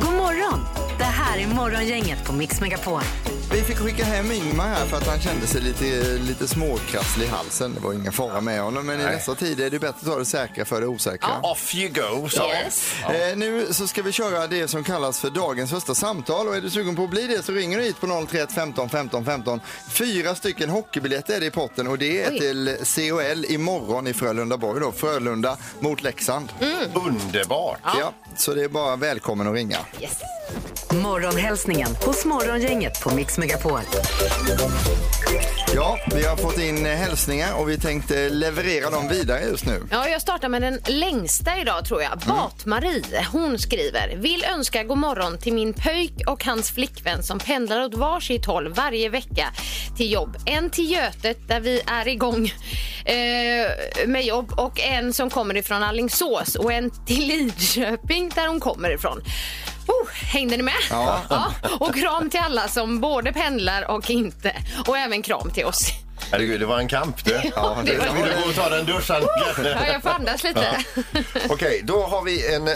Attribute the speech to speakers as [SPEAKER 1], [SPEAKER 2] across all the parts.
[SPEAKER 1] God morgon! Det här är Morgongänget på Mix Megapol.
[SPEAKER 2] Vi fick skicka hem Ingmar här för att han kände sig lite, lite småkrasslig i halsen. Det var ingen fara med honom, men i dessa tider är det bättre att ta det säkra för det osäkra.
[SPEAKER 3] Off you go, sa vi.
[SPEAKER 2] Eh, nu så ska vi köra det som kallas för dagens första samtal och är du sugen på att bli det så ringer du hit på 031 15 15 15. Fyra stycken hockeybiljetter är det i potten och det är till COL imorgon i Frölunda Borg då. Frölunda mot Leksand.
[SPEAKER 3] Underbart.
[SPEAKER 2] Ja, så det är bara välkommen att ringa.
[SPEAKER 1] Morgonhälsningen hos Morgongänget på Mix Megapol.
[SPEAKER 2] Ja, vi har fått in eh, hälsningar och vi tänkte leverera dem vidare just nu.
[SPEAKER 4] Ja, jag startar med den längsta idag tror jag.
[SPEAKER 2] Mm.
[SPEAKER 4] Bat-Marie, hon skriver. Vill önska god morgon till min pöjk och hans flickvän som pendlar åt varsitt håll varje vecka till jobb. En till Götet där vi är igång eh, med jobb och en som kommer ifrån Allingsås och en till Lidköping där hon kommer ifrån. Oh, hängde ni med?
[SPEAKER 2] Ja.
[SPEAKER 4] Och kram till alla som både pendlar och inte. Och även kram till oss.
[SPEAKER 3] Herregud, det var en kamp du.
[SPEAKER 2] Ja, det-
[SPEAKER 3] Jag ville gå och ta den duschen.
[SPEAKER 4] Ja, jag får andas lite.
[SPEAKER 3] Okej, då har vi en eh,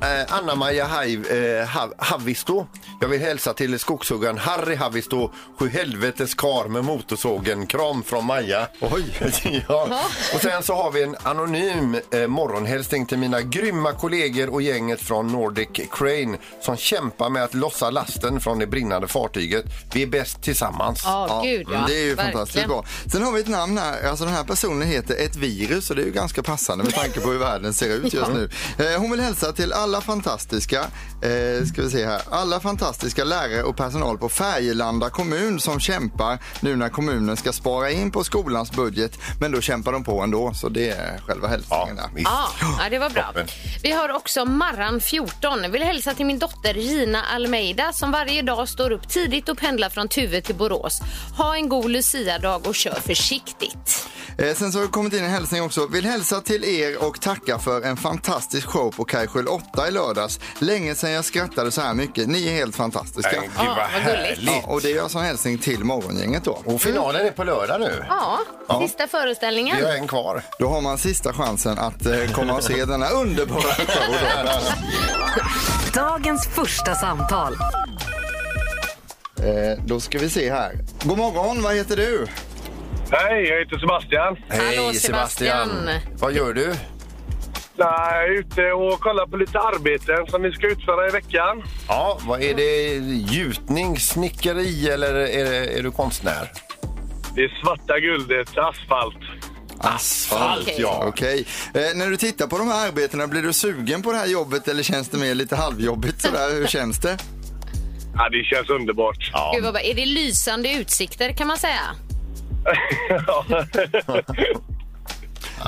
[SPEAKER 3] eh, Anna-Maja Haiv- eh, Hav- Havisto. Jag vill hälsa till skogshuggaren Harry Havisto, sju helvetes kar med motorsågen. Kram från Maja. Oj! ja. Och sen så har vi en anonym eh, morgonhälsning till mina grymma kollegor och gänget från Nordic Crane som kämpar med att lossa lasten från det brinnande fartyget. Vi är bäst tillsammans.
[SPEAKER 4] Ja, gud ja.
[SPEAKER 2] det är ju
[SPEAKER 4] Verkligen.
[SPEAKER 2] fantastiskt bra. Sen har vi ett namn här. Alltså den här personen heter ett virus och det är ju ganska passande med tanke på hur världen ser ut just nu. Eh, Hon vill hälsa till alla fantastiska, eh, ska vi se här, alla fantastiska lärare och personal på Färgelanda kommun som kämpar nu när kommunen ska spara in på skolans budget. Men då kämpar de på ändå, så det är själva
[SPEAKER 3] Ja,
[SPEAKER 2] hälsningen där.
[SPEAKER 3] visst.
[SPEAKER 4] Ja, ja, det var bra.
[SPEAKER 3] Toppen.
[SPEAKER 4] Vi har också Marran14. Vill hälsa till min dotter Gina Almeida som varje dag står upp tidigt och pendlar från Tuve till Borås. Ha en god Lucia-dag och kör försiktigt.
[SPEAKER 2] Eh, sen så har det kommit in en hälsning också. Vill hälsa till er och tacka för en fantastisk show på Kajskjul 8 i lördags. Länge sedan jag skrattade så här mycket. Ni är helt fantastiska.
[SPEAKER 3] Nej, Gud, vad
[SPEAKER 4] vad gulligt.
[SPEAKER 3] härligt.
[SPEAKER 2] Ja, och det är alltså en hälsning till morgongänget då.
[SPEAKER 3] Och finalen är på lördag nu.
[SPEAKER 4] Ja, sista föreställningen.
[SPEAKER 3] Vi har en kvar.
[SPEAKER 2] Då har man sista chansen att eh, komma och se denna underbara show. Då.
[SPEAKER 1] Dagens första samtal.
[SPEAKER 2] Eh, då ska vi se här. God morgon, vad heter du?
[SPEAKER 5] Hej, jag heter Sebastian.
[SPEAKER 4] Hallå, Sebastian.
[SPEAKER 3] Vad gör du?
[SPEAKER 5] Nej, jag är ute och kollar på lite arbeten som vi ska utföra i veckan.
[SPEAKER 3] Ja, vad är det? Gjutning, snickeri eller är, det, är du konstnär?
[SPEAKER 5] Det svarta guldet, asfalt.
[SPEAKER 3] Asfalt,
[SPEAKER 4] Okej.
[SPEAKER 3] ja.
[SPEAKER 2] Okej. Eh, när du tittar på de här arbetena, blir du sugen på det här jobbet eller känns det mer lite halvjobbigt sådär? Hur känns det?
[SPEAKER 5] Ja, det känns underbart.
[SPEAKER 3] Ja.
[SPEAKER 4] Gud, vad bra. Är det lysande utsikter kan man säga?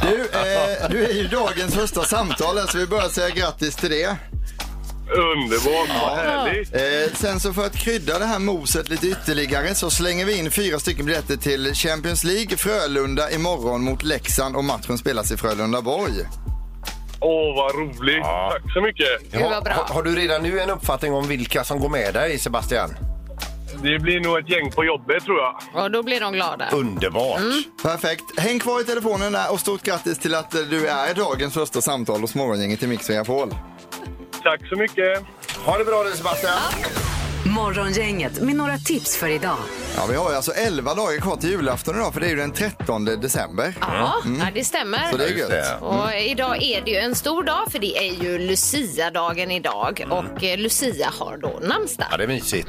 [SPEAKER 2] Du, eh, du är ju dagens första samtal, så vi börjar säga grattis till det.
[SPEAKER 5] underbart, vad härligt.
[SPEAKER 2] Eh, sen så för att krydda det här moset lite ytterligare så slänger vi in fyra stycken biljetter till Champions League Frölunda imorgon mot Leksand och matchen spelas i Frölunda Borg.
[SPEAKER 5] Åh, vad roligt.
[SPEAKER 3] Ja.
[SPEAKER 5] Tack så mycket.
[SPEAKER 4] Gud, vad bra.
[SPEAKER 3] Har, har du redan nu en uppfattning om vilka som går med dig, Sebastian?
[SPEAKER 5] Det blir nog ett gäng på jobbet, tror jag.
[SPEAKER 4] Och då blir de glada.
[SPEAKER 3] Underbart!
[SPEAKER 4] Mm.
[SPEAKER 2] Perfekt. Häng kvar i telefonen där och stort grattis till att eh, du är dagens första samtal hos Morgongänget i Mix Megapol.
[SPEAKER 5] Tack så mycket.
[SPEAKER 3] Ha det bra du, Sebastian!
[SPEAKER 1] Morgongänget med några tips för idag.
[SPEAKER 2] Ja, vi har ju alltså 11 dagar kvar till julafton idag för det är ju den 13 december.
[SPEAKER 4] Ja, ja det stämmer.
[SPEAKER 2] Mm. Så det är
[SPEAKER 3] Just
[SPEAKER 2] gött. Mm.
[SPEAKER 3] det.
[SPEAKER 4] Och idag är det ju en stor dag för det är ju Lucia-dagen idag
[SPEAKER 2] Mm.
[SPEAKER 4] och eh, Lucia har då namnsdag.
[SPEAKER 3] Ja, det är mysigt.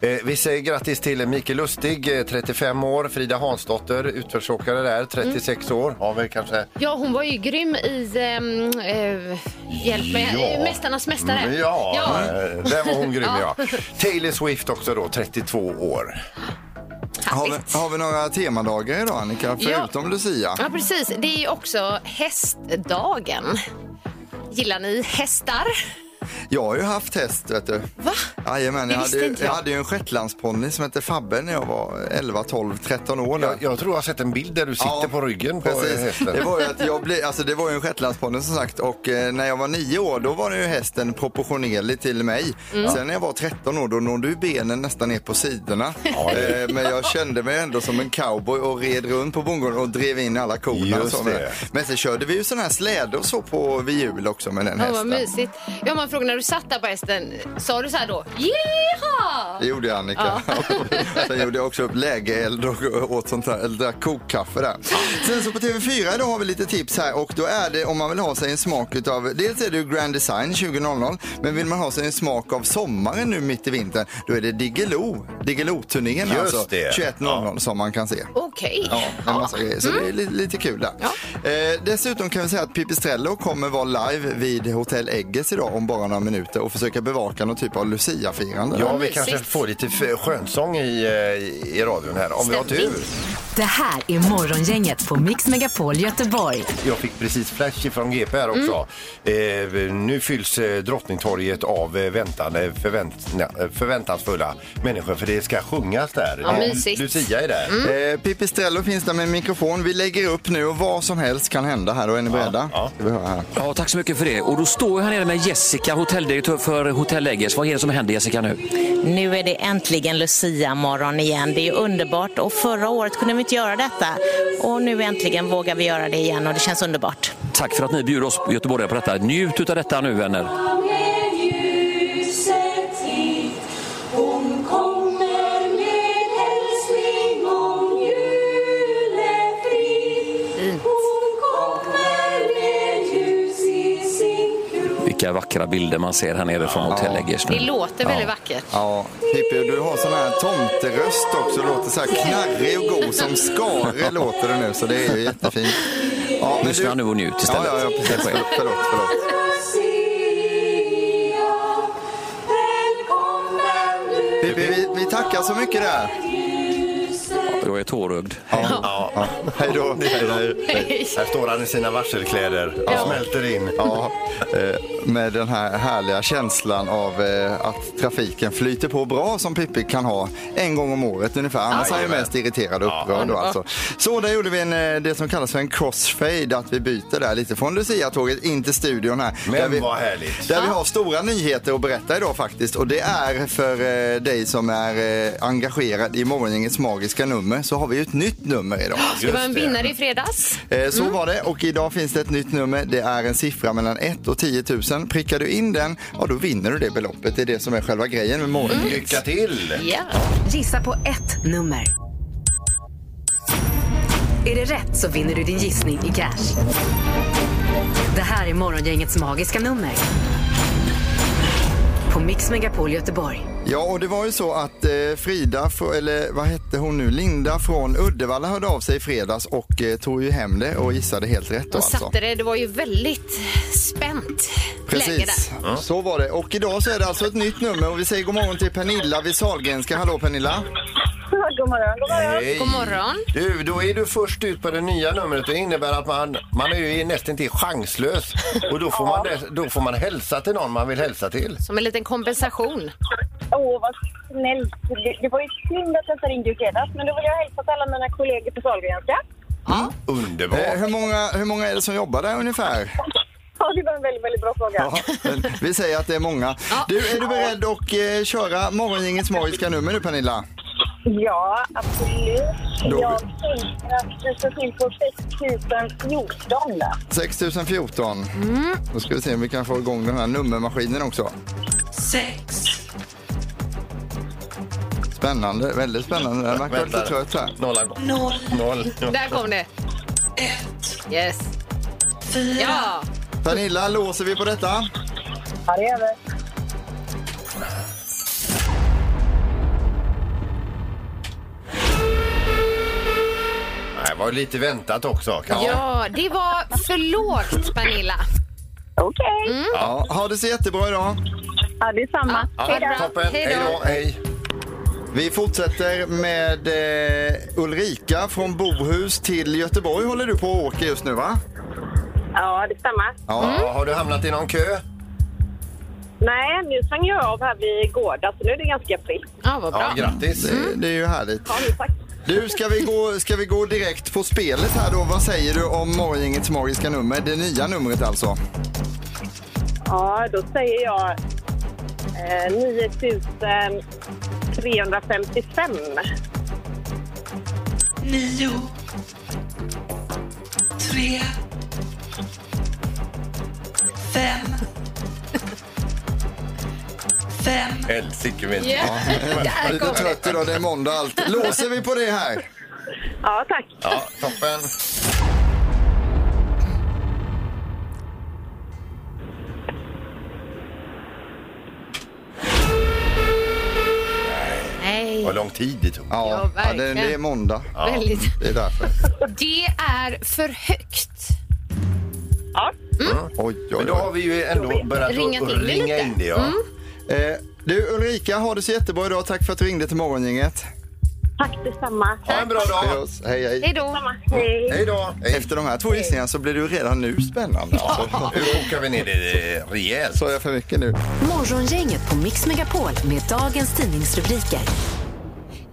[SPEAKER 4] Mm.
[SPEAKER 3] Eh, vi säger grattis till Mikael Lustig, eh, 35 år, Frida Hansdotter, utförsåkare där, 36
[SPEAKER 4] Mm.
[SPEAKER 3] år. Har vi kanske...
[SPEAKER 4] Ja, hon var ju grym i... ehm, eh, hjälp mig.
[SPEAKER 3] Ja.
[SPEAKER 4] eh, Mästarnas mästare.
[SPEAKER 3] Mm, Ja, eh, där var hon grym ja. Taylor Swift också då, 32 år.
[SPEAKER 2] Har
[SPEAKER 4] Härligt.
[SPEAKER 2] vi, har vi några temadagar idag Annika, förutom Lucia?
[SPEAKER 4] Ja, precis. Det är ju också hästdagen. Gillar ni hästar?
[SPEAKER 2] Jag har ju haft häst, vet du.
[SPEAKER 4] Va?
[SPEAKER 2] Jajamän,
[SPEAKER 4] Det
[SPEAKER 2] jag,
[SPEAKER 4] visste
[SPEAKER 2] hade, ju-
[SPEAKER 4] inte jag.
[SPEAKER 2] jag hade ju en shetlandsponny som hette Fabbe när jag var 11, 12, 13 år. Där.
[SPEAKER 3] Jag, jag tror jag har sett en bild där du sitter på ryggen på eh,
[SPEAKER 2] precis.
[SPEAKER 3] hästen.
[SPEAKER 2] Det var ju, att jag blev, alltså det var ju en shetlandsponny som sagt och eh, när jag var nio år då var det ju hästen proportionerlig till mig.
[SPEAKER 4] Mm.
[SPEAKER 2] Sen när jag var 13 år då nådde ju benen nästan ner på sidorna. Eh, Men jag kände mig ändå som en cowboy och red runt på bondgården och drev in alla korna. Och
[SPEAKER 3] Just
[SPEAKER 2] så.
[SPEAKER 3] det.
[SPEAKER 2] Men sen körde vi ju sådana här släde och så på vid jul också med den
[SPEAKER 4] Ja, vad
[SPEAKER 2] hästen.
[SPEAKER 4] mysigt. Ja, man frågar när du satt där på hästen, sa du så här då? Jeha!
[SPEAKER 2] Det gjorde jag, Annika. Sen gjorde jag också upp lägereld och åt sånt här, eller drack kokkaffe där. Sen så på TV4 idag har vi lite tips här och då är det om man vill ha sig en smak utav, dels är det ju Grand Design 2000, men vill man ha sig en smak av sommaren nu mitt i vintern, då är det Diggiloo, Diggiloo-turnén
[SPEAKER 3] Just
[SPEAKER 2] alltså,
[SPEAKER 3] det.
[SPEAKER 2] 21.00 som man kan se.
[SPEAKER 4] Okej.
[SPEAKER 2] Ja, en massa grejer. Så det är li- lite kul där. Eh, dessutom kan vi säga att Pipistrello kommer vara live vid Hotell Egges idag om bara några minuter och försöka bevaka någon typ av Lucia-firande.
[SPEAKER 3] Ja,
[SPEAKER 4] Vad
[SPEAKER 3] vi
[SPEAKER 4] mysigt.
[SPEAKER 3] kanske får lite f- skönsång i, eh, i radion här, om vi har tur.
[SPEAKER 1] Det här är Morgongänget på Mix Megapol Göteborg.
[SPEAKER 3] Jag fick precis flash från GP här också.
[SPEAKER 2] Mm.
[SPEAKER 3] Eh, nu fylls eh, Drottningtorget av eh, väntande, förvänt, nej, förväntansfulla människor för det ska sjungas där.
[SPEAKER 4] Ja,
[SPEAKER 3] Det är-
[SPEAKER 4] mysigt.
[SPEAKER 3] Lucia är där.
[SPEAKER 2] Eh, Pipistrello finns där med en mikrofon. Vi lägger upp nu och vad som helst kan hända här. Och är ni beredda?
[SPEAKER 3] ja.
[SPEAKER 2] Ska vi höra här.
[SPEAKER 6] Ja, tack så mycket för det. Och då står jag här nere med Jessica, hotelldirektör för Hotell Eggers. Vad är det som händer Jessica nu?
[SPEAKER 7] Nu är det äntligen Lucia-morgon igen. Det är underbart och förra året kunde vi inte göra detta. Och nu äntligen vågar vi göra det igen och det känns underbart.
[SPEAKER 6] Tack för att ni bjuder oss göteborgare på detta. Njut utav detta nu vänner. Vilka vackra bilder man ser här nere från Hotell Eggers
[SPEAKER 4] Det
[SPEAKER 6] nu.
[SPEAKER 4] låter väldigt vackert.
[SPEAKER 2] Ja, Pippi, du har sån här tomteröst också. Du låter så här knarrig och god som skare låter det nu. Så det är ju jättefint. Ja, men
[SPEAKER 6] Lyssna nu och njut istället.
[SPEAKER 2] Ja, ja, ja precis. Förlåt, förlåt. förlåt. Pippi, vi, vi tackar så mycket där.
[SPEAKER 6] Jag är tårögd.
[SPEAKER 3] Ja.
[SPEAKER 2] Hej då.
[SPEAKER 3] Här står han i sina varselkläder och smälter in.
[SPEAKER 2] Ja, eh, med den här härliga känslan av eh, att trafiken flyter på bra som Pippi kan ha en gång om året ungefär. Annars är han ju
[SPEAKER 3] Jajamän.
[SPEAKER 2] mest irriterad och upprörd. då, alltså. Så där gjorde vi en, eh, det som kallas för en crossfade, att vi byter där lite från Lucia-tåget in till studion här.
[SPEAKER 3] Men
[SPEAKER 2] där vi,
[SPEAKER 3] vad härligt.
[SPEAKER 2] Där vi har stora nyheter att berätta idag faktiskt. Och det är för eh, dig som är eh, engagerad i Morgongängets magiska nummer så har vi ju ett nytt nummer idag.
[SPEAKER 4] Det var en
[SPEAKER 3] Just det.
[SPEAKER 4] vinnare i fredags.
[SPEAKER 2] Eh, Så var det och idag finns det ett nytt nummer. Det är en siffra mellan 1 och 10 000. Prickar du in den, ja då vinner du det beloppet. Det är det som är själva grejen med morgon.
[SPEAKER 4] Mm.
[SPEAKER 3] Lycka till!
[SPEAKER 4] Ja.
[SPEAKER 1] Gissa på ett nummer. Är det rätt så vinner du din gissning i cash. Det här är Morgongängets magiska nummer. På Mix Megapol Göteborg.
[SPEAKER 2] Ja, och det var ju så att eh, Frida, fr- eller vad hette hon nu, Linda från Uddevalla hörde av sig i fredags och eh, tog ju hem det och gissade helt rätt då
[SPEAKER 4] Och
[SPEAKER 2] alltså.
[SPEAKER 4] satte det. Det var ju väldigt spänt läge
[SPEAKER 2] Precis,
[SPEAKER 4] där.
[SPEAKER 2] så var det. Och idag så är det alltså ett nytt nummer och vi säger god morgon till Pernilla vid Sahlgrenska. Hallå Pernilla!
[SPEAKER 8] God morgon, god morgon.
[SPEAKER 3] Hej.
[SPEAKER 4] God morgon.
[SPEAKER 3] Du, då är du först ut på det nya numret. Det innebär att man, man är ju nästan till chanslös. Och då får, man, dess- då får man hälsa till någon man vill hälsa till.
[SPEAKER 4] Som en liten kompensation.
[SPEAKER 8] Åh, vad snällt. Det, det var ju synd att jag inte ringde genast, men då vill jag hälsa till alla mina kollegor på Sahlgrenska.
[SPEAKER 3] Underbart!
[SPEAKER 2] Eh, hur, många, hur många är det som jobbar där ungefär?
[SPEAKER 8] Ja, det var en väldigt, väldigt bra fråga.
[SPEAKER 2] Ja, men vi säger att det är många. Du, är du beredd att eh, köra Morgongängets magiska nummer nu Pernilla?
[SPEAKER 8] Ja, absolut.
[SPEAKER 2] Då-
[SPEAKER 8] Jag tänker att du ska till på 6014.
[SPEAKER 2] 6014. Då ska vi se om vi kan få igång den här nummermaskinen också. Sex. Spännande, väldigt spännande. Den verkar lite
[SPEAKER 3] Vänta.
[SPEAKER 2] trött här.
[SPEAKER 3] Noll. Noll. Noll.
[SPEAKER 4] Där kom det. Ett. Yes. Fyra. Ja.
[SPEAKER 2] Pernilla, låser vi på detta?
[SPEAKER 8] Ja, det är vi.
[SPEAKER 3] Nej, Det var lite väntat också. Kan
[SPEAKER 4] ja, det var för lågt Pernilla.
[SPEAKER 8] Okej.
[SPEAKER 2] Ja, ha det så jättebra idag.
[SPEAKER 8] Ja, det är samma.
[SPEAKER 4] Ja,
[SPEAKER 8] Hej då.
[SPEAKER 4] bra.
[SPEAKER 3] Toppen.
[SPEAKER 4] Hej
[SPEAKER 3] Hej
[SPEAKER 4] då.
[SPEAKER 3] då. Hej.
[SPEAKER 2] Vi fortsätter med eh, Ulrika från Bohus till Göteborg håller du på och åker just nu va?
[SPEAKER 8] Ja, det stämmer.
[SPEAKER 2] Ja.
[SPEAKER 3] Ja, har du hamnat i någon kö?
[SPEAKER 8] Nej, nu svänger jag av här vid Gårda, så nu är det ganska friskt.
[SPEAKER 4] Ja, vad
[SPEAKER 2] Ja, grattis. Det, Mm. det är ju härligt. Du, ska vi, gå, ska vi gå direkt på spelet här då? Vad säger du om Morgongängets magiska nummer? Det nya numret alltså.
[SPEAKER 8] Ja, då säger jag eh, 9355.
[SPEAKER 9] 9, 3, 5, 5.
[SPEAKER 3] Helsike min.
[SPEAKER 9] Ja,
[SPEAKER 2] Jag är
[SPEAKER 9] där
[SPEAKER 2] lite
[SPEAKER 9] kom
[SPEAKER 2] trött
[SPEAKER 9] det.
[SPEAKER 2] idag, det är måndag och allt. Låser vi på det här?
[SPEAKER 8] Ja, tack.
[SPEAKER 2] Ja, toppen.
[SPEAKER 4] Nej.
[SPEAKER 2] Vad lång tid det tog. Ja, ja det,
[SPEAKER 4] verkligen.
[SPEAKER 2] det är måndag.
[SPEAKER 4] Ja. Väldigt.
[SPEAKER 2] Det är därför.
[SPEAKER 4] Det är för högt.
[SPEAKER 2] Oj, oj,
[SPEAKER 3] Men då har vi ju ändå börjat att
[SPEAKER 4] Ringa till det
[SPEAKER 3] ringa
[SPEAKER 4] lite.
[SPEAKER 3] in det. Ja.
[SPEAKER 4] Mm.
[SPEAKER 2] Eh, du Ulrika, har det så jättebra idag. Tack för att du ringde till Morgongänget.
[SPEAKER 8] Tack detsamma.
[SPEAKER 2] Ha en bra dag. Hej, oss. hej. hej.
[SPEAKER 4] då.
[SPEAKER 8] Hej.
[SPEAKER 2] Hej då. Efter de här två gissningarna så blir det ju redan nu spännande. Ja.
[SPEAKER 3] Nu kokar vi ner det rejält.
[SPEAKER 2] Sa jag för mycket nu?
[SPEAKER 1] Morgongänget på Mix Megapol med dagens tidningsrubriker.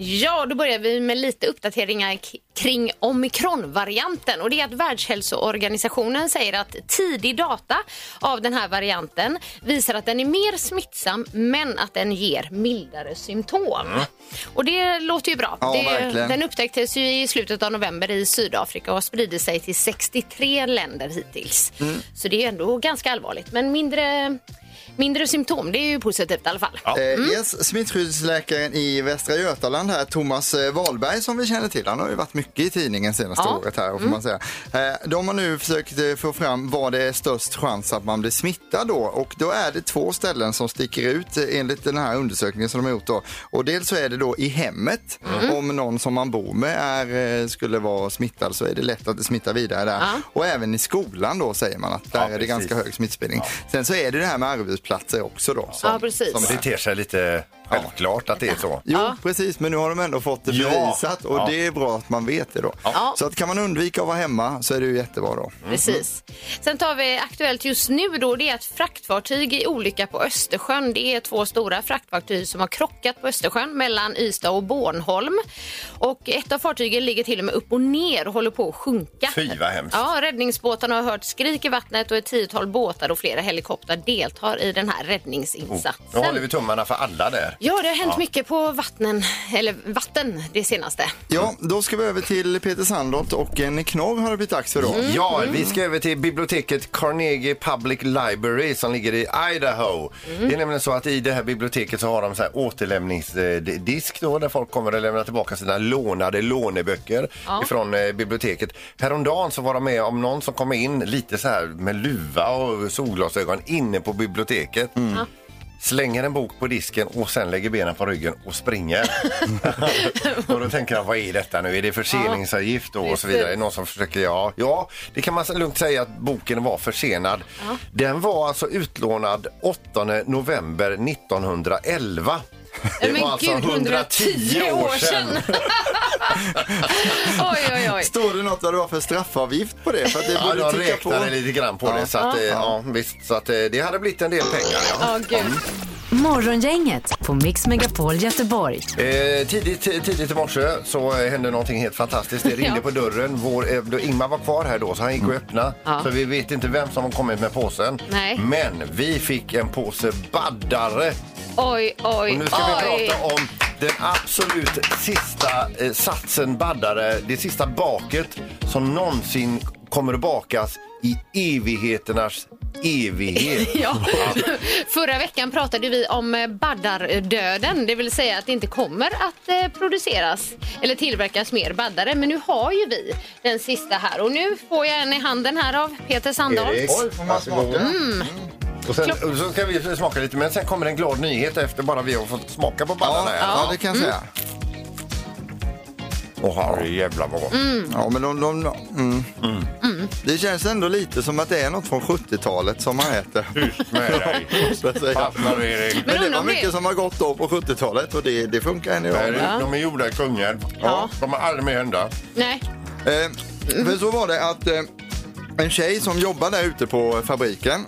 [SPEAKER 4] Ja, då börjar vi med lite uppdateringar k- kring omikronvarianten och det är att Världshälsoorganisationen säger att tidig data av den här varianten visar att den är mer smittsam men att den ger mildare symptom. Och det låter ju bra.
[SPEAKER 2] Mm. Ja,
[SPEAKER 4] det,
[SPEAKER 2] verkligen.
[SPEAKER 4] den upptäcktes ju i slutet av november i Sydafrika och har spridit sig till 63 länder hittills.
[SPEAKER 2] Mm.
[SPEAKER 4] Så det är ändå ganska allvarligt, men mindre, mindre symptom, det är ju positivt i alla fall.
[SPEAKER 2] Eh, yes, smittskyddsläkaren i Västra Götaland här, Thomas eh, Wahlberg som vi känner till. Han har ju varit mycket i tidningen senaste
[SPEAKER 4] Ja.
[SPEAKER 2] året här får
[SPEAKER 4] Mm.
[SPEAKER 2] man säga. Eh, de har nu försökt eh, få fram var det är störst chans att man blir smittad då och då är det två ställen som sticker ut eh, enligt den här undersökningen som de har gjort då. Och dels så är det då i hemmet. Om någon som man bor med är, eh, skulle vara smittad så är det lätt att det smittar vidare där.
[SPEAKER 3] Ja.
[SPEAKER 2] Och även i skolan då säger man att där är det
[SPEAKER 3] precis.
[SPEAKER 2] ganska hög smittspridning. Sen så är det det här med arbetsplatser också då.
[SPEAKER 4] Ja, precis.
[SPEAKER 2] som är-
[SPEAKER 3] Det ter sig lite självklart att det är så.
[SPEAKER 2] Jo, precis, men nu har de ändå fått det
[SPEAKER 3] Ja.
[SPEAKER 2] bevisat och
[SPEAKER 3] Ja.
[SPEAKER 2] det är bra att man vet det då.
[SPEAKER 4] Ja.
[SPEAKER 2] Så att kan man undvika att vara hemma så är det ju jättebra då.
[SPEAKER 3] Mhm.
[SPEAKER 4] Precis. Sen tar vi aktuellt just nu då, det är ett fraktfartyg i olycka på Östersjön. Det är två stora fraktfartyg som har krockat på Östersjön mellan Ystad och Bornholm. Och ett av fartygen ligger till och med upp och ner och håller på att sjunka.
[SPEAKER 3] Fy, vad hemskt.
[SPEAKER 4] Ja, räddningsbåtarna har hört skrik i vattnet och ett tiotal båtar och flera helikoptrar deltar i den här
[SPEAKER 3] Oh.
[SPEAKER 4] räddningsinsatsen.
[SPEAKER 3] Nu håller vi tummarna för alla där.
[SPEAKER 4] Ja, det har hänt mycket på vattnen, eller vatten det senaste.
[SPEAKER 2] Ja, då ska vi över till Peter Sandholt och en knorr har det blivit dags för då.
[SPEAKER 3] Ja, vi ska över till biblioteket Carnegie Public Library som ligger i Idaho. Det är nämligen så att i det här biblioteket så har de så här återlämningsdisk då, där folk kommer att lämna tillbaka sina lånade låneböcker
[SPEAKER 10] Ja.
[SPEAKER 3] ifrån eh, biblioteket. Häromdagen så var de med om någon som kom in lite så här med luva och solglasögon inne på biblioteket.
[SPEAKER 4] Ja.
[SPEAKER 3] Slänger en bok på disken och sen lägger benen på ryggen och springer. och då tänker han, vad är detta nu? Är det förseningsavgift då? Och så vidare. Är det någon som försöker, ja. Ja, det kan man lugnt säga att boken var försenad. Den var alltså utlånad 8 november 1911. Det
[SPEAKER 4] Men
[SPEAKER 3] var alltså
[SPEAKER 4] gud,
[SPEAKER 3] 110 år sedan.
[SPEAKER 4] oj, oj, oj.
[SPEAKER 2] Står det något vad det var för straffavgift på det? För att det
[SPEAKER 3] Ja,
[SPEAKER 2] borde
[SPEAKER 3] de
[SPEAKER 2] ticka på.
[SPEAKER 3] räknade lite grann på det. Så, att, eh, ja, visst, så att, eh, det hade blivit en del pengar. Ja.
[SPEAKER 4] Ja, gud.
[SPEAKER 1] Morgongänget på Mix Megapol Göteborg.
[SPEAKER 3] Eh, tidigt, tidigt i morse så eh, hände någonting helt fantastiskt. Det ringde
[SPEAKER 1] Ja.
[SPEAKER 3] på dörren. Vår, eh, då Ingmar var kvar här då, så han gick och öppnade.
[SPEAKER 4] Mm. Ja.
[SPEAKER 3] Så vi vet inte vem som har kommit med påsen.
[SPEAKER 4] Nej.
[SPEAKER 3] Men vi fick en påse baddare.
[SPEAKER 4] Oj, oj,
[SPEAKER 3] Och nu ska
[SPEAKER 4] oj.
[SPEAKER 3] vi prata om den absolut sista eh, satsen baddare, det sista baket som någonsin kommer att bakas i evigheternas evighet.
[SPEAKER 4] Ja. Förra veckan pratade vi om eh, baddardöden, det vill säga att det inte kommer att eh, produceras eller tillverkas mer baddare. Men nu har ju vi den sista här och nu får jag en i handen här av Peter Sandholt.
[SPEAKER 3] Erik, varsågod. Och sen, och så ska vi smaka lite, men sen kommer en glad nyhet efter bara vi har fått smaka på ballarna.
[SPEAKER 2] Ja, ja, det kan jag säga.
[SPEAKER 3] Åh, herrejävlar vad gott.
[SPEAKER 4] Mm.
[SPEAKER 2] Ja, men de, de, mm. Det känns ändå lite som att det är något från 70-talet som man äter. Ut
[SPEAKER 3] med dig. Fastnar, Erik. Men
[SPEAKER 2] Men det
[SPEAKER 3] undrar
[SPEAKER 2] var
[SPEAKER 3] om det-
[SPEAKER 2] mycket som har gått då på 70-talet och det, det funkar än idag.
[SPEAKER 3] Nej, de är gjorda i Kungälv. Ja. De har aldrig mer hända.
[SPEAKER 4] Nej.
[SPEAKER 2] Eh, för så var det att eh, En tjej som jobbar där ute på fabriken.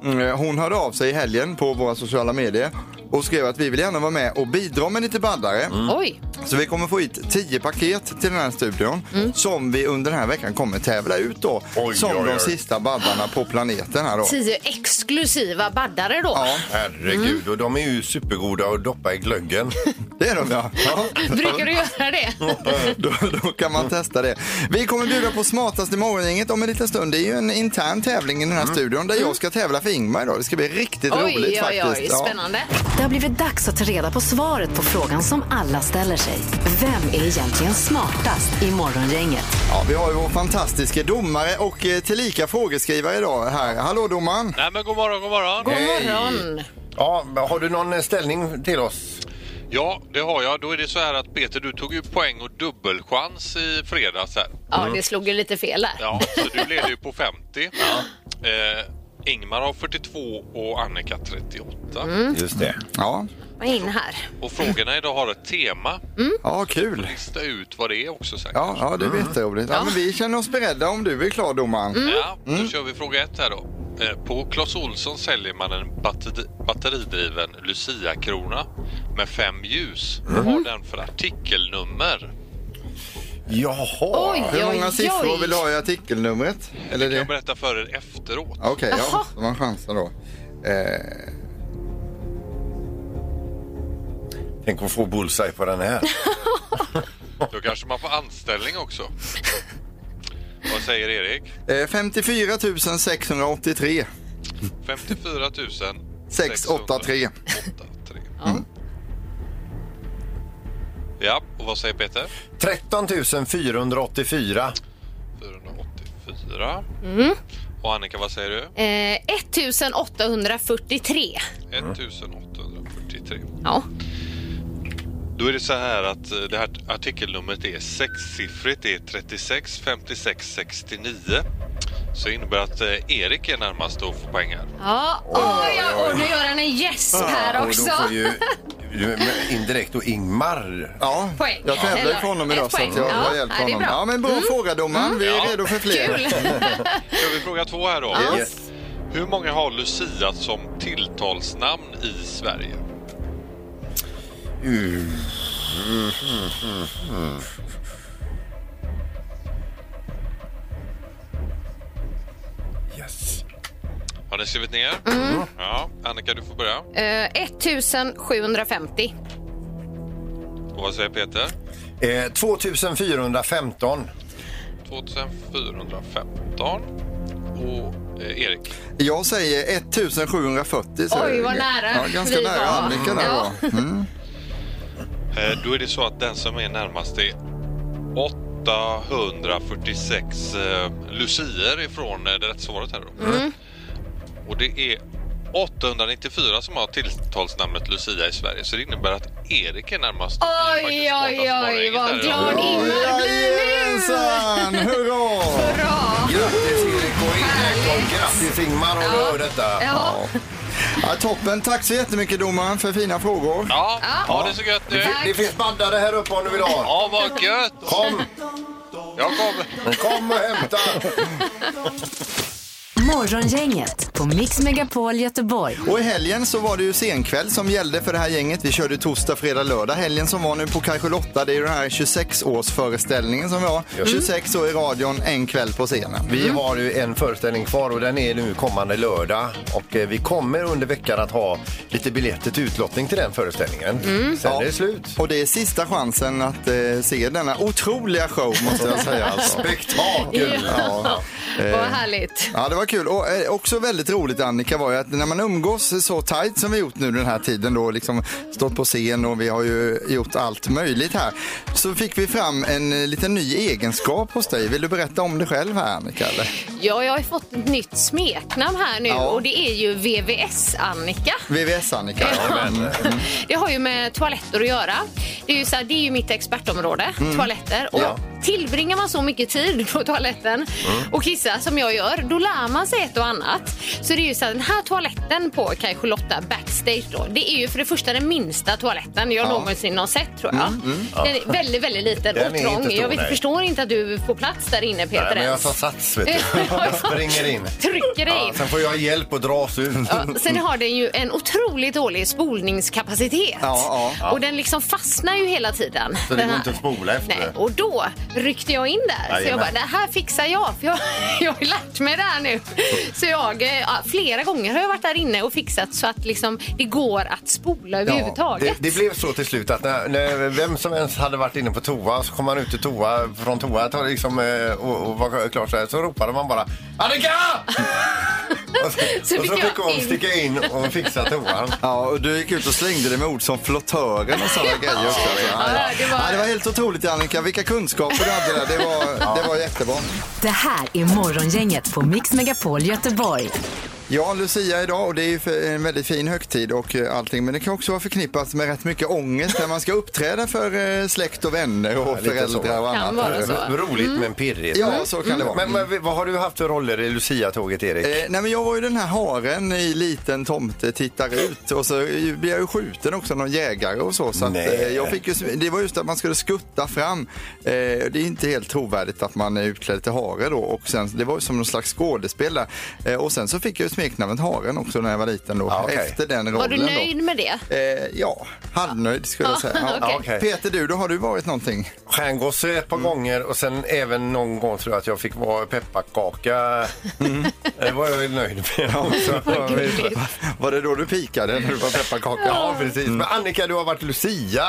[SPEAKER 2] Mm, Hon hörde av sig i helgen på våra sociala medier och skrev att vi vill gärna vara med och bidra med lite baddare.
[SPEAKER 3] Mm.
[SPEAKER 4] Oj.
[SPEAKER 2] Så vi kommer få hit 10 paket till den här studion som vi under den här veckan kommer tävla ut då. som
[SPEAKER 3] Mm. oj, oj.
[SPEAKER 2] de sista baddarna på planeten här då.
[SPEAKER 4] Tio exklusiva baddare då.
[SPEAKER 3] Herregud,
[SPEAKER 4] Mm.
[SPEAKER 3] och de är ju supergoda att doppa i glöggen.
[SPEAKER 2] Det är de ja.
[SPEAKER 4] Brukar du göra det?
[SPEAKER 2] då, då kan man testa det. Vi kommer bjuda på smartaste morgongänget om en liten stund. Det är ju en intern tävling i den här studion där jag ska tävla för Ingmar idag. Det ska bli riktigt roligt
[SPEAKER 4] Mm. oj,
[SPEAKER 2] faktiskt.
[SPEAKER 4] oj,
[SPEAKER 2] Ja.
[SPEAKER 4] spännande.
[SPEAKER 1] Det har blivit dags att ta reda på svaret på frågan som alla ställer sig. Vem är egentligen smartast i Morgongänget?
[SPEAKER 2] Ja, vi har ju vår fantastiska domare och eh, tillika frågeskrivare idag här. Hallå domaren!
[SPEAKER 10] Nej men god morgon, god morgon.
[SPEAKER 4] God morgon.
[SPEAKER 3] Ja, men har du någon eh, ställning till oss?
[SPEAKER 10] Ja, det har jag. Då är det så här att Peter, du tog ju poäng och dubbelchans i fredags här.
[SPEAKER 4] Ja,
[SPEAKER 3] Mm.
[SPEAKER 4] det slog ju lite fel där.
[SPEAKER 10] Ja, så du leder ju på 50. Eh, Ingmar har 42 och Annika 38.
[SPEAKER 2] Mm.
[SPEAKER 4] Mm.
[SPEAKER 3] Just det.
[SPEAKER 2] Ja,
[SPEAKER 4] Vad är in här.
[SPEAKER 10] Och frågorna idag har ett tema.
[SPEAKER 2] ja kul!
[SPEAKER 10] Lista ut vad det är också säkert.
[SPEAKER 2] Ja, ja det blir jätteroligt. Ja,
[SPEAKER 10] Mm.
[SPEAKER 2] men
[SPEAKER 10] Ja.
[SPEAKER 2] vi känner oss beredda om du är klar domaren.
[SPEAKER 4] Mm.
[SPEAKER 10] Ja,
[SPEAKER 2] Mm.
[SPEAKER 10] då kör vi fråga ett här då. Eh, På Clas Ohlson säljer man en batteri batteridriven Lucia-krona med fem ljus.
[SPEAKER 2] Mm.
[SPEAKER 10] Vad har den för artikelnummer?
[SPEAKER 3] Jaha!
[SPEAKER 4] Oj,
[SPEAKER 2] Hur många
[SPEAKER 4] oj,
[SPEAKER 2] siffror
[SPEAKER 4] oj.
[SPEAKER 2] vill du ha i artikelnumret? Eller
[SPEAKER 10] Jag
[SPEAKER 2] det?
[SPEAKER 10] berättar för er efteråt.
[SPEAKER 2] Okej, ja,
[SPEAKER 4] Jaha.
[SPEAKER 2] då man chansar då. Eh,
[SPEAKER 3] Tänk att få bullseye på den här.
[SPEAKER 10] Då kanske man får anställning också. Vad säger Erik?
[SPEAKER 2] eh, 54 683.
[SPEAKER 10] 54 000
[SPEAKER 2] 683.
[SPEAKER 10] 683. Ja, och vad säger Peter?
[SPEAKER 3] 13 484.
[SPEAKER 10] 484.
[SPEAKER 4] Mm.
[SPEAKER 10] Och Annika, vad säger du?
[SPEAKER 4] Eh, 1843.
[SPEAKER 10] 1843.
[SPEAKER 4] Ja.
[SPEAKER 10] Då är det så här att eh, det här artikelnumret är sexsiffrigt. Det är 36 56 69. Så det innebär att eh, Erik är närmast och får poäng här.
[SPEAKER 4] Ja, oj, oj, oj, nu gör han en yes här
[SPEAKER 3] Och
[SPEAKER 4] också.
[SPEAKER 3] då får ju ju- men indirekt och Ingmar.
[SPEAKER 2] Ja,
[SPEAKER 4] Poäng.
[SPEAKER 2] jag tävlar ju
[SPEAKER 4] Eller
[SPEAKER 2] för honom
[SPEAKER 4] ett
[SPEAKER 2] idag så att
[SPEAKER 4] poäng.
[SPEAKER 2] jag har
[SPEAKER 4] Ja,
[SPEAKER 2] hjälpt
[SPEAKER 4] nej, det är
[SPEAKER 2] honom.
[SPEAKER 4] bra. Mm.
[SPEAKER 2] Ja, men bra fråga domaren. Vi är
[SPEAKER 10] Ja.
[SPEAKER 2] redo för fler.
[SPEAKER 4] Kul!
[SPEAKER 10] Kör vi fråga två här då.
[SPEAKER 4] Ja.
[SPEAKER 10] Hur många har Lucia som tilltalsnamn i Sverige?
[SPEAKER 3] Yes.
[SPEAKER 10] Har ni skrivit ner?
[SPEAKER 4] Mm.
[SPEAKER 10] Mm. Ja, Annika, du får börja.
[SPEAKER 4] Eh, 1750.
[SPEAKER 10] Och vad säger Peter?
[SPEAKER 3] Eh, 2415.
[SPEAKER 10] 2415. Och eh, Erik?
[SPEAKER 2] Jag säger 1740. säger
[SPEAKER 4] Oj,
[SPEAKER 2] jag.
[SPEAKER 4] vad nära
[SPEAKER 2] Ja, ganska
[SPEAKER 4] vi
[SPEAKER 2] nära
[SPEAKER 4] var.
[SPEAKER 2] Annika där
[SPEAKER 4] Ja.
[SPEAKER 2] då. Mm.
[SPEAKER 10] Eh, då är det så att den som är närmast är 846 eh, lucier ifrån eh, det rätta svaret här då.
[SPEAKER 4] Mm.
[SPEAKER 10] Och det är 894 som har tilltalsnamnet Lucia i Sverige så det innebär att Erik är närmast.
[SPEAKER 4] Oj, oj, oj, vad glad Ingmar blir
[SPEAKER 2] Jajamensan! Hurra!
[SPEAKER 4] nu! Bra!
[SPEAKER 3] Grattis Erik och Ingmar. Och Grattis Ingmar om du hör detta.
[SPEAKER 4] Ja,
[SPEAKER 2] Ja, toppen. Tack så jättemycket domaren för fina frågor.
[SPEAKER 10] Ja, ha det så gött nu!
[SPEAKER 3] Det finns bandare här uppe om du vill ha.
[SPEAKER 10] Ja, vad gött!
[SPEAKER 3] Kom,
[SPEAKER 10] Jag kommer!
[SPEAKER 3] kom och hämta.
[SPEAKER 1] Morgongänget på Mix Megapol Göteborg.
[SPEAKER 2] Och i helgen så var det ju senkväll som gällde för det här gänget. Vi körde torsdag, fredag, lördag. Helgen som var nu på kanske Lotta, det är ju den här 26-årsföreställningen som var.
[SPEAKER 4] Mm.
[SPEAKER 2] 26 år i radion, en kväll på scenen.
[SPEAKER 3] Vi har ju en föreställning kvar och den är nu kommande lördag. Och eh, vi kommer under veckan att ha lite biljetter till utlottning till den föreställningen. Sen är det slut.
[SPEAKER 2] Och det är sista chansen att eh, se denna otroliga show måste jag säga. Alltså.
[SPEAKER 3] Spektakel!
[SPEAKER 2] Ja. Eh.
[SPEAKER 4] vad härligt.
[SPEAKER 2] Ja, det var kul. Och eh, också väldigt roligt Annika var ju att när man umgås så tajt som vi gjort nu den här tiden då, liksom stått på scen och vi har ju gjort allt möjligt här. Så fick vi fram en eh, liten ny egenskap hos dig. Vill du berätta om dig själv här Annika? Eller?
[SPEAKER 4] Ja, jag har ju fått ett nytt smeknamn här nu
[SPEAKER 2] Ja.
[SPEAKER 4] och det är ju VVS-Annika.
[SPEAKER 2] VVS Annika.
[SPEAKER 4] eh,
[SPEAKER 3] mm. Mm.
[SPEAKER 4] Det har ju med toaletter att göra. Det är ju, så här, det är ju mitt expertområde, toaletter. Och
[SPEAKER 2] Ja.
[SPEAKER 4] Tillbringar man så mycket tid på toaletten
[SPEAKER 3] Mm.
[SPEAKER 4] och kissar som jag gör, då lär man sig ett och annat. Så det är ju så här, den här toaletten på Kaj Lotta Backstage då, det är ju för det första den minsta toaletten jag
[SPEAKER 11] Ja.
[SPEAKER 4] någonsin har sett tror jag.
[SPEAKER 11] Mm, mm.
[SPEAKER 4] Den är väldigt, väldigt liten
[SPEAKER 3] Den är
[SPEAKER 4] och
[SPEAKER 3] inte
[SPEAKER 4] trång.
[SPEAKER 3] stor,
[SPEAKER 4] jag vet,
[SPEAKER 3] nej.
[SPEAKER 4] förstår inte att du får plats där inne Peter
[SPEAKER 3] Nej, men jag
[SPEAKER 4] ens.
[SPEAKER 3] tar sats, vet du. Jag springer in.
[SPEAKER 4] Trycker dig
[SPEAKER 3] Ja,
[SPEAKER 4] in.
[SPEAKER 3] sen får jag hjälp att dras ut.
[SPEAKER 4] Ja, sen har den ju en otroligt dålig spolningskapacitet.
[SPEAKER 3] Ja, ja.
[SPEAKER 4] Och den liksom fastnar ju hela tiden.
[SPEAKER 3] Så det
[SPEAKER 4] den
[SPEAKER 3] går
[SPEAKER 4] här.
[SPEAKER 3] inte att spola efter.
[SPEAKER 4] Nej, och då ryckte jag in där. Så jag
[SPEAKER 3] Jajamän.
[SPEAKER 4] bara, det här fixar jag. För jag, jag har ju lärt mig det här nu. Så jag, eh, ja, flera gånger har jag varit där inne och fixat så att liksom, det går att spola överhuvudtaget.
[SPEAKER 3] det, det blev så till slut att när, när vem som ens hade varit inne på toa så kom man ut ur toa, från toa tar liksom, eh, och, och var klar så här så ropade man bara Annika! och så, och så fick hon sticka in och fixa toan.
[SPEAKER 2] Ja, och du gick ut och slängde det med ord som flottören och sådana grejer också. Ja, ja.
[SPEAKER 1] det var-
[SPEAKER 2] Ja, det var helt otroligt Annika, vilka kunskaper du hade där. Det var, det var jättebra.
[SPEAKER 1] Det här är Morgongänget på Mix Megapol Göteborg.
[SPEAKER 2] Ja, Lucia idag och det är ju för- en väldigt fin högtid och eh, allting men det kan också vara förknippat med rätt mycket ångest när man ska uppträda för eh, släkt och vänner och
[SPEAKER 3] lite
[SPEAKER 2] föräldrar och
[SPEAKER 3] så. Kan vara
[SPEAKER 2] annat.
[SPEAKER 3] så. R- roligt Mm. men pirrigt.
[SPEAKER 2] Ja, så kan det
[SPEAKER 3] Mm.
[SPEAKER 2] vara.
[SPEAKER 3] Men- vad har du haft för roller i Lucia-tåget Erik?
[SPEAKER 2] Eh, nej men jag var ju den här haren i liten tomte tittar ut och så blev jag ju skjuten också av någon jägare och så. så att,
[SPEAKER 3] Nej.
[SPEAKER 2] eh, jag fick ju, det var just att man skulle skutta fram. Eh, det är inte helt trovärdigt att man är utklädd till hare då och sen, det var ju som någon slags skådespelare. Eh, och sen så fick jag ju smeknamnet haren också när jag var liten då. Efter den rollen
[SPEAKER 4] Var du nöjd
[SPEAKER 2] då.
[SPEAKER 4] med det?
[SPEAKER 2] Eh, ja, halvnöjd skulle jag säga. Ja.
[SPEAKER 4] Okej.
[SPEAKER 2] Peter, du, då har du varit någonting?
[SPEAKER 3] Stjärngosse ett par gånger och sen även någon gång tror jag att jag fick vara pepparkaka. Det var jag väl nöjd med också.
[SPEAKER 2] var det då du pikade när du var pepparkaka?
[SPEAKER 3] Ja, precis. Men Annika, du har varit Lucia.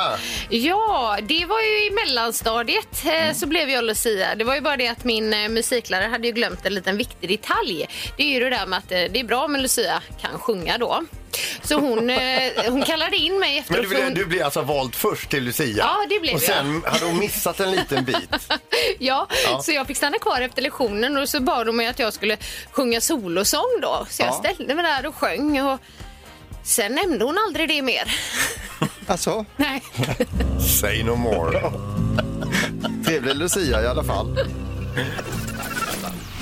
[SPEAKER 4] Ja, det var ju i mellanstadiet eh,
[SPEAKER 3] Mm.
[SPEAKER 4] så blev jag Lucia. Det var ju bara det att min eh, musiklärare hade ju glömt en liten viktig detalj. Det är ju det där med att eh, det är bra med Lucia kan sjunga då. Så hon, eh, hon kallade in mig
[SPEAKER 3] Men
[SPEAKER 4] efteråt.
[SPEAKER 3] du,
[SPEAKER 4] för hon-
[SPEAKER 3] blev- du blev alltså vald först till Lucia?
[SPEAKER 4] Ja, det blev
[SPEAKER 3] Och sen hade hon missat en liten bit.
[SPEAKER 4] ja,
[SPEAKER 3] Ja.
[SPEAKER 4] så jag fick stanna kvar efter lektionen och så bad hon mig att jag skulle sjunga solosång då. Så jag
[SPEAKER 2] Ja.
[SPEAKER 4] ställde mig där och sjöng. Och... Sen nämnde hon aldrig det mer.
[SPEAKER 2] Alltså?
[SPEAKER 4] Nej.
[SPEAKER 3] Say no more.
[SPEAKER 2] Trevlig Lucia i alla fall.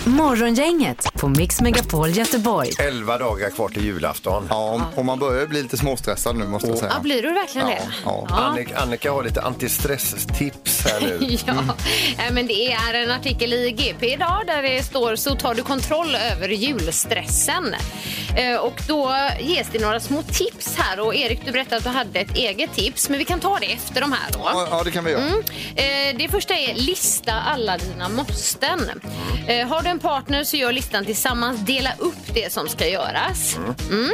[SPEAKER 1] Morgongänget på Mix Megapol Göteborg.
[SPEAKER 3] Elva dagar kvar till julafton.
[SPEAKER 2] Ja, och man börjar bli lite småstressad nu måste jag säga.
[SPEAKER 4] Ja, blir du verkligen
[SPEAKER 2] Ja,
[SPEAKER 4] det?
[SPEAKER 2] ja.
[SPEAKER 3] Annika, Annika har lite antistresstips här nu.
[SPEAKER 4] Ja, eh, men det är en artikel i GP idag där det står så tar du kontroll över julstressen. Eh, Och då ges det några små tips här och Erik du berättade att du hade ett eget tips men vi kan ta det efter de här då.
[SPEAKER 2] Ja, ja, det kan vi göra.
[SPEAKER 3] Mm.
[SPEAKER 4] Eh, Det första är lista alla dina måsten. Eh, Har du en partner så gör listan tillsammans, dela upp det som ska göras. Mm.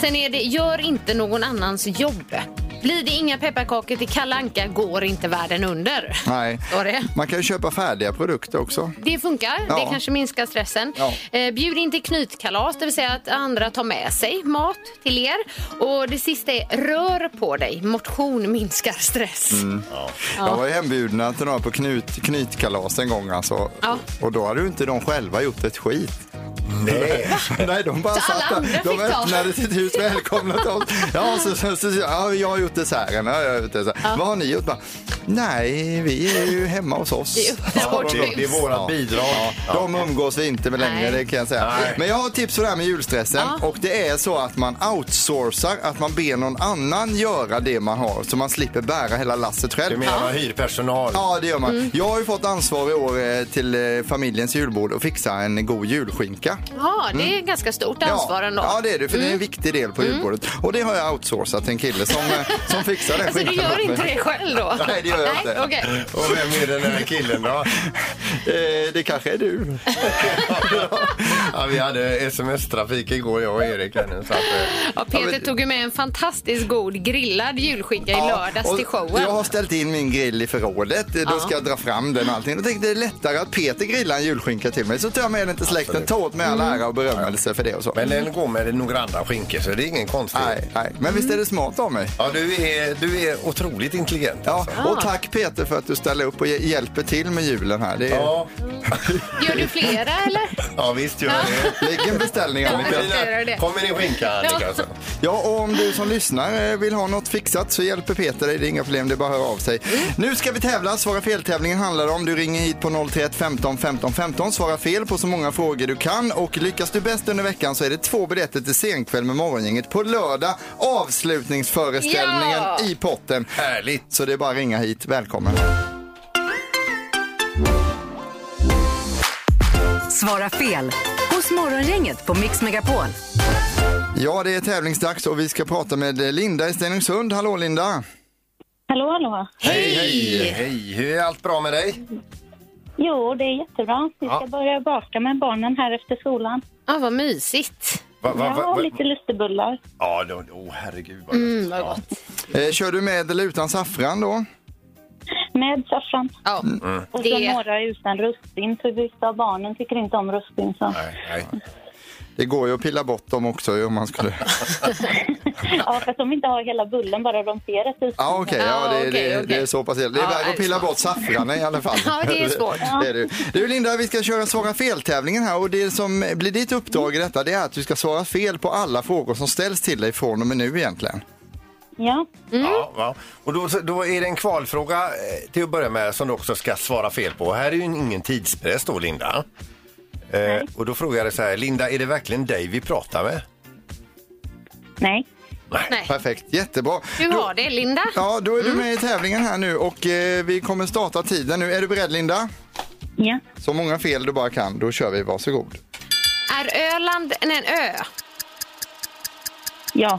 [SPEAKER 4] Sen är det gör inte någon annans jobb. Blir det inga pepparkakor till Kalle Anka går inte världen under.
[SPEAKER 2] Nej.
[SPEAKER 4] Var det?
[SPEAKER 2] Man kan ju köpa färdiga produkter också.
[SPEAKER 4] Det funkar.
[SPEAKER 2] Ja.
[SPEAKER 4] Det kanske minskar stressen.
[SPEAKER 2] Ja.
[SPEAKER 4] Eh, bjud in till knytkalas, det vill säga att andra tar med sig mat till er. Och det sista är rör på dig. Motion minskar stress.
[SPEAKER 2] Mm. Jag var ju hembjudna till några på knut, knytkalas en gång alltså.
[SPEAKER 4] Ja.
[SPEAKER 2] Och då hade ju inte de själva gjort ett skit.
[SPEAKER 3] Nej.
[SPEAKER 2] Nej, de bara
[SPEAKER 3] Så alla
[SPEAKER 2] satt
[SPEAKER 3] andra
[SPEAKER 2] där. De
[SPEAKER 3] fick ta.
[SPEAKER 2] öppnade sitt hus, välkomnat oss. Ja, så, så, så, ja, jag har gjort desserten. Ja, jag har gjort desserten. Vad har ni gjort? Bara, Nej, vi är ju hemma hos oss.
[SPEAKER 3] Vi öppnar
[SPEAKER 2] Ja,
[SPEAKER 3] vårt
[SPEAKER 2] vad bra.
[SPEAKER 3] hus. Det är vårat bidrag. Ja.
[SPEAKER 2] De umgås vi inte med längre,
[SPEAKER 3] Nej.
[SPEAKER 2] det kan jag säga.
[SPEAKER 3] Nej.
[SPEAKER 2] Men jag har ett tips för det här med julstressen.
[SPEAKER 3] Ja.
[SPEAKER 2] Och det är så att man outsourcar, att man ber någon annan göra det man har så man slipper bära hela lasset själv.
[SPEAKER 3] Du menar hyrpersonal?
[SPEAKER 2] Ja, det gör man.
[SPEAKER 3] Mm.
[SPEAKER 2] Jag har ju fått ansvar i år eh, till eh, familjens julbord och fixa en god julskinka.
[SPEAKER 4] Ja, det är
[SPEAKER 2] Mm.
[SPEAKER 4] ganska stort ansvar ändå.
[SPEAKER 2] Ja, det är det, för det är en viktig del på
[SPEAKER 4] Mm.
[SPEAKER 2] julbordet. Och det har jag outsourcat till en kille som, eh, som fixar den
[SPEAKER 4] Alltså, du
[SPEAKER 2] skinkan
[SPEAKER 4] gör
[SPEAKER 2] åt mig.
[SPEAKER 4] inte det själv då?
[SPEAKER 2] Nej, det gör jag
[SPEAKER 4] Nej,
[SPEAKER 2] inte.
[SPEAKER 4] okej.
[SPEAKER 3] Och vem är den här killen då?
[SPEAKER 2] Eh, det kanske är du.
[SPEAKER 3] ja, vi hade sms-trafik igår, jag och Erik. här nu, Så att, eh,
[SPEAKER 4] Ja, Peter tog ju med en fantastiskt god grillad julskinka i lördags
[SPEAKER 2] och
[SPEAKER 4] till showen.
[SPEAKER 2] Jag har ställt in min grill i förrådet. Då ska jag dra fram den och allting. Då tänkte jag, det är lättare att Peter grillar en julskinka till mig. Så tar jag med den till släkten. Ta åt mig all ära och berömmelse för det och så.
[SPEAKER 3] Mm. Men den går med några andra skinkor så det är ingen konstighet.
[SPEAKER 2] Nej, nej. Men visst är det smart av mig?
[SPEAKER 3] Ja, du är, du är otroligt intelligent.
[SPEAKER 2] Ja,
[SPEAKER 3] alltså.
[SPEAKER 2] och tack Peter för att du ställer upp och hj- hjälper till med julen här. Det är...
[SPEAKER 3] Ja.
[SPEAKER 4] Gör du flera eller?
[SPEAKER 3] Ja, visst gör
[SPEAKER 4] Ja,
[SPEAKER 2] Lägg en beställning
[SPEAKER 4] Ja,
[SPEAKER 2] Annika.
[SPEAKER 4] jag ska göra det.
[SPEAKER 3] Kom med din skinka, Annika,
[SPEAKER 4] Ja.
[SPEAKER 3] alltså.
[SPEAKER 2] Ja, och om du som lyssnar eh, vill ha något fixat så hjälper Peter dig. Det är inga problem, det är bara att höra av sig. Nu ska vi tävla. Svara fel-tävlingen handlar om. Du ringer hit på 031 15 15 15. Svara fel på så många frågor du kan och lyckas du bäst under veckan så är det två biljetter till senkväll med Morgongänget på lördag. Avslutningsföreställningen
[SPEAKER 4] Ja!
[SPEAKER 2] i potten. Härligt! Så det är bara att ringa hit. Välkommen!
[SPEAKER 1] Svara fel hos Morgongänget på Mix Megapol.
[SPEAKER 2] Ja, det är tävlingsdags och vi ska prata med Linda i Stenungsund. Hallå Linda!
[SPEAKER 8] Hallå, hallå.
[SPEAKER 2] Hej!
[SPEAKER 3] Hej, hej. Hur är allt bra med dig?
[SPEAKER 8] Jo, det är jättebra. Vi ska
[SPEAKER 3] Ja.
[SPEAKER 8] börja baka med barnen här efter skolan.
[SPEAKER 4] Ja, vad mysigt.
[SPEAKER 3] Va, va, va,
[SPEAKER 8] Ja,
[SPEAKER 3] va?
[SPEAKER 8] lite lustigullar.
[SPEAKER 3] Ja, då, oh, herregud vad
[SPEAKER 4] Mm, vad gott.
[SPEAKER 2] Eh, kör du med eller utan saffran då?
[SPEAKER 8] Med saffran.
[SPEAKER 4] Ja.
[SPEAKER 2] Mm.
[SPEAKER 8] Och så
[SPEAKER 4] Det-
[SPEAKER 8] några utan russin, för vissa av barnen tycker inte om russin. Så.
[SPEAKER 2] Det går ju att pilla bort dem också om man skulle...
[SPEAKER 8] ja, för att de inte har hela bullen, bara de ser ett russin.
[SPEAKER 2] Ja, okej. ja,
[SPEAKER 8] Ah,
[SPEAKER 2] det, det, det är så pass Det är
[SPEAKER 8] Ja,
[SPEAKER 2] värre
[SPEAKER 8] är
[SPEAKER 2] att
[SPEAKER 8] Ah, det
[SPEAKER 2] pilla
[SPEAKER 8] smart.
[SPEAKER 2] bort saffranen i alla fall.
[SPEAKER 8] Ja, det är svårt.
[SPEAKER 2] det är det. Du Linda, vi ska köra svara fel-tävlingen här och det som blir ditt uppdrag i detta det är att du ska svara fel på alla frågor som ställs till dig från och med nu egentligen.
[SPEAKER 8] Ja.
[SPEAKER 4] Mm.
[SPEAKER 3] Ja, ja. Och då, då är det en kvalfråga eh, till att börja med som du också ska svara fel på. Här är ju ingen tidspress då, Linda. Eh, och då frågar jag dig så här, Linda, är det verkligen dig vi pratar med?
[SPEAKER 8] Nej.
[SPEAKER 4] Nej.
[SPEAKER 2] Perfekt, jättebra.
[SPEAKER 4] Du har det, Linda.
[SPEAKER 2] Ja, då är
[SPEAKER 8] Mm.
[SPEAKER 2] du med i tävlingen här nu och eh, vi kommer starta tiden nu. Är du beredd Linda?
[SPEAKER 8] Ja.
[SPEAKER 2] Så många fel du bara kan, då kör vi. Varsågod.
[SPEAKER 4] Är Öland en en ö?
[SPEAKER 8] Ja.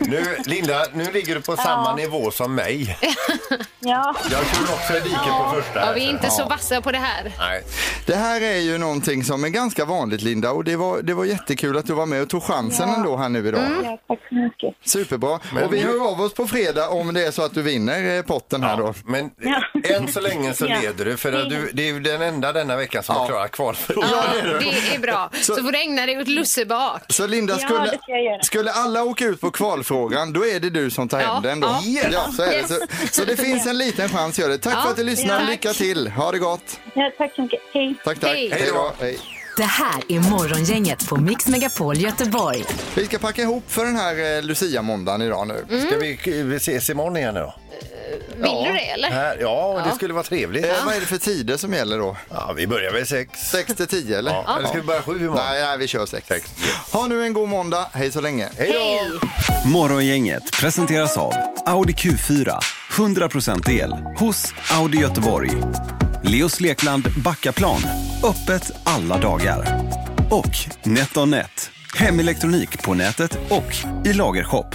[SPEAKER 3] Nu, Linda, nu ligger du på samma nivå som mig.
[SPEAKER 8] Ja.
[SPEAKER 3] Jag tror också i diket på första.
[SPEAKER 4] Ja,
[SPEAKER 3] här,
[SPEAKER 4] vi är inte
[SPEAKER 2] Ja.
[SPEAKER 4] så vassa på det här.
[SPEAKER 3] Nej.
[SPEAKER 2] Det här är ju någonting som är ganska vanligt Linda och det var, det var jättekul att du var med och tog chansen ändå här nu idag.
[SPEAKER 10] Mm.
[SPEAKER 8] Ja, tack så mycket.
[SPEAKER 2] Superbra. och vi hör av oss på fredag om det är så att du vinner eh, potten här då.
[SPEAKER 3] Men Än så länge så
[SPEAKER 4] Ja.
[SPEAKER 3] leder du, för att du, det är ju den enda denna veckan som har klarat kvalfrågan.
[SPEAKER 4] Ja, det är bra.
[SPEAKER 2] Så-
[SPEAKER 4] Så får du ägna dig åt lussebak.
[SPEAKER 2] Så Linda,
[SPEAKER 4] Ja,
[SPEAKER 2] skulle,
[SPEAKER 4] det ska jag göra.
[SPEAKER 2] skulle alla åka ut på kvalfrågan, då är det du som tar
[SPEAKER 4] Ja,
[SPEAKER 2] hem den då.
[SPEAKER 4] ja.
[SPEAKER 2] Ja, så, är det.
[SPEAKER 4] Yes.
[SPEAKER 2] Så, så det finns en liten chans, gör det. Tack
[SPEAKER 1] Ja,
[SPEAKER 2] för att du lyssnar,
[SPEAKER 1] ja.
[SPEAKER 2] lycka till, ha det gott.
[SPEAKER 8] Ja, tack så mycket. Hej.
[SPEAKER 2] Tack, tack.
[SPEAKER 1] Hej.
[SPEAKER 2] Hej då. Hej.
[SPEAKER 1] Det här är Morgongänget på Mix Megapol Göteborg.
[SPEAKER 2] Vi ska packa ihop för den här eh, Lucia-måndagen idag nu.
[SPEAKER 1] Mm. Ska
[SPEAKER 3] vi, ses imorgon igen då?
[SPEAKER 4] Vill du det eller?
[SPEAKER 3] Här, ja, det skulle vara trevligt.
[SPEAKER 2] Eh, vad är det för tider som gäller då?
[SPEAKER 3] Ja, vi börjar väl sex.
[SPEAKER 2] Sex till tio eller?
[SPEAKER 3] Ja, eller ska vi börja sju imorgon?
[SPEAKER 2] Nej, nej, vi kör sex. Ha nu en god måndag, hej så länge.
[SPEAKER 3] Hej då!
[SPEAKER 11] Morgongänget presenteras av Audi Q4. 100% el hos Audi Göteborg. Leos Lekland Backaplan. Öppet alla dagar. Och NetOnNet. Hemelektronik på nätet och i lagershop.